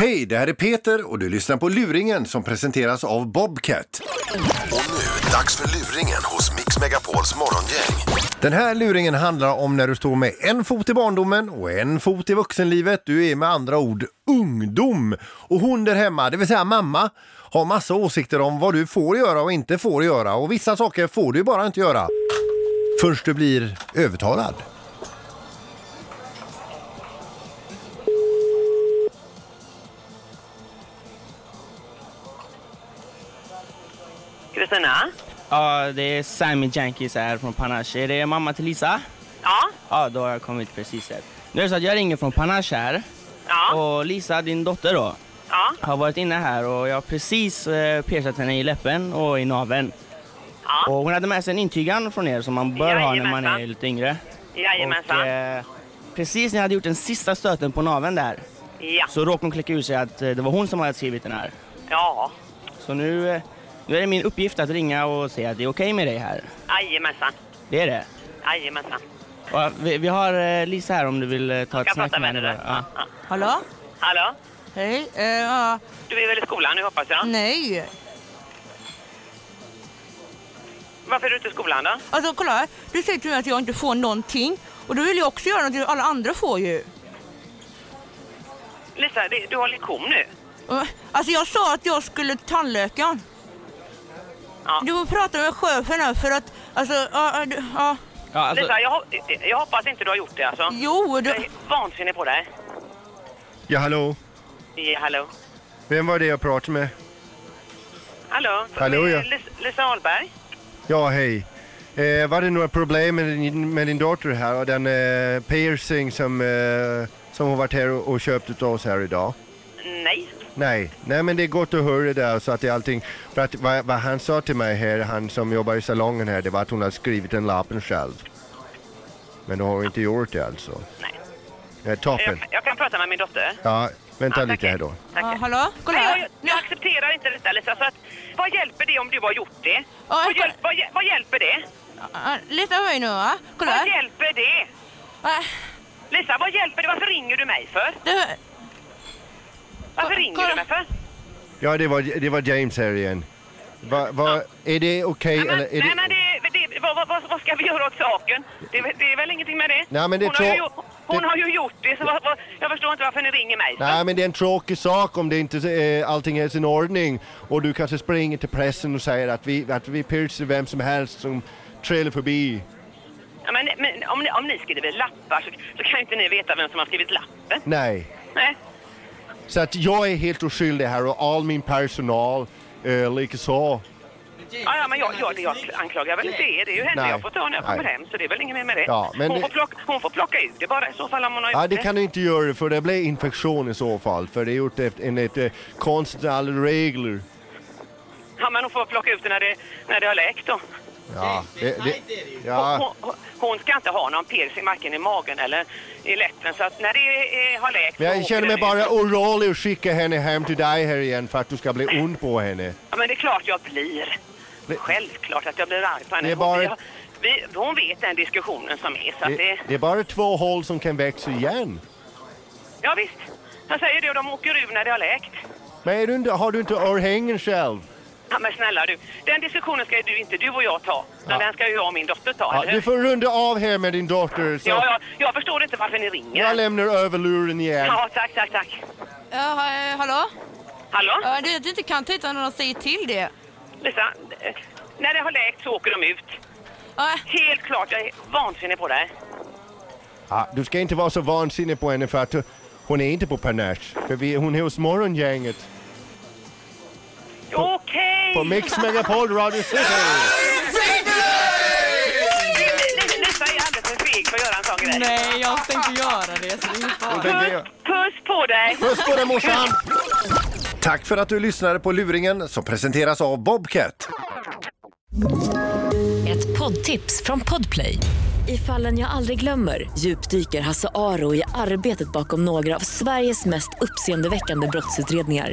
Hej, det här är Peter och du lyssnar på Luringen som presenteras av Bobcat. Och nu, dags för luringen hos Mix Megapols morgongäng. Den här luringen handlar om när du står med en fot i barndomen och en fot i vuxenlivet. Du är med andra ord ungdom. Och hon där hemma, det vill säga mamma, har massa åsikter om vad du får göra och inte får göra. Och vissa saker får du bara inte göra. Först du blir övertalad. Kristina? Ja, Ah, det är Simon Jenkins här från Panache. Är det mamma till Lisa? Ja? Ja, då har jag kommit precis här. Nu är det så att jag ringer från Panache här. Ja? Och Lisa, din dotter då, Ja? har varit inne här och jag har precis eh, piercat henne i läppen och i naveln. Ja? Och hon hade med sig en intygan från er som man bör ha när man Jajamensan. är lite yngre. Jajamensan. Och, eh, precis när jag hade gjort den sista stöten på naveln där Ja. så råkade hon kläcka ur sig att eh, det var hon som hade skrivit den här. Ja. Så nu, eh, nu är det min uppgift att ringa och säga att det är okej med dig här. Jajamensan. Det är det. Jajamensan. Ja, vi, vi har eh, Lisa här om du vill eh, ta ett Jag snack pratar med med henne. dig. bara. Ja. Ja. ja. Hallå? Hallå? Hej. Eh, ja. Du är väl i skolan nu hoppas Mm. jag? nej. Varför är du inte i skolan då? Alltså kolla här. Du säger till mig att jag inte får någonting. Och då vill jag också göra någonting. Alla andra får ju. Lisa, det, du har lektion nu. Eh, Alltså jag sa att jag skulle till tandläkaren. Ja. Du får prata med chefen här för att... Alltså, ja, ja, du- ja. Ja, alltså, Lisa, jag, hop- jag hoppas inte du har gjort det alltså. Jo, Jag du... är vansinnig på dig. Ja, hallå. Ja, hallå? Vem var det jag pratade med? Hallå? Hallå, ja. Lisa, Lisa Ahlberg? Ja, hej. Eh, var det några problem med din, med din dotter här och den eh, piercing som, eh, som hon varit här och, och köpt utav oss här idag? Nej. Nej, nej men det är gott att höra där så att det är allting. För att vad, vad han sa till mig här, han som jobbar i salongen här, det var att hon hade skrivit en lappen själv. Men då har hon inte gjort det alltså. Nej. Eh, toppen. Jag, jag kan prata med min dotter. Ja, vänta Ja, lite tack. här då. Tack. Ja, hallå? Kolla Nej, jag, här. jag accepterar inte detta Lisa. Så att, vad hjälper det om du har gjort det? jag vad, kan- hjälp, vad, hjäl- vad hjälper det? Ja, Lyssna på mig nu va. Kolla Vad här. hjälper det? Ja, Lisa, vad hjälper det? Varför ringer du mig för? det- Varför Ko- ringer kolla. du mig för? Ja, det var, det var James här igen. Va, va, är det okej Nej, men, eller? Är nej, men det... det, det, vad, vad- vad, vad ska vi göra åt saken? Det, är väl- det är väl ingenting med det? Nej, men det är hon, har ju, trå- gjort- hon det- har ju gjort det, så vad, vad, jag förstår inte varför ni ringer mig. Nej, men det är en tråkig sak om det inte, eh, allting är i sin ordning och du kanske springer till pressen och säger att vi, att vi piercer vem som helst som trillar förbi. Ja, men, men, om, ni, om ni skriver lappar så, så kan ju inte ni veta vem som har skrivit lappen. Nej. Nej. Så att jag är helt oskyldig här och all min personal eh, likaså. Ja, ja, men jag, jag, det- jag anklagar väl inte er. Det är ju henne Nej. jag får ta när jag kommer Nej. hem, så det är väl inget mer med det. Ja, men hon, det- får plocka, hon får plocka ut det bara i så fall om hon har Ja, gjort det kan du inte göra för det blir infektion i så fall. För det är gjort efter- enligt eh, konstens alla regler. Ja, men hon får plocka ut det när det, när det har läkt då. Ja, det, det, Hon, ja, hon, hon ska inte ha någon piercing varken i magen eller i läppen. Så att när det eh, har läkt... men så jag åker känner mig den bara ut. orolig och skicka henne hem till dig här igen för att du ska bli ond på henne. Ja, men det är klart jag blir. Självklart att jag blir arg på henne. Det är bara- Hon- vi har- vi, hon vet den diskussionen som är. Så att Det, det, det är bara två hål som kan växa igen. ja, visst. Jag säger det och de åker ur när det har läkt. Men är du inte, har du inte örhängen själv? Ja, men snälla du, den diskussionen ska ju du, inte du och jag ta. Utan Ja. Den ska ju jag och min dotter ta, Ja, eller du hur? får runda av här med din dotter. Så Ja, ja, jag förstår inte varför ni ringer. Jag lämnar över luren igen. Ja, tack, tack, tack. Ja, eh, hallå? Hallå? Ja, det är att du inte kan titta när de säger till det. Lisa, eh, när det har läkt så åker de ut. Ja, Helt klart, jag är vansinnig på det. Ja, du ska inte vara så vansinnig på henne för att hon är inte på Panache. För vi, hon är hos morgongänget. Okej! På Mix Megapol Radio City. Li- Lisa är alldeles för feg för att göra en sån grej. Nej, jag tänkte göra det så det är ingen fara. Puss, puss på dig! Puss på dig morsan! Tack för att du lyssnade på Luringen som presenteras av Bobcat. Ett poddtips från Podplay. I fallen jag aldrig glömmer djupdyker Hasse Aro i arbetet bakom några av Sveriges mest uppseendeväckande brottsutredningar.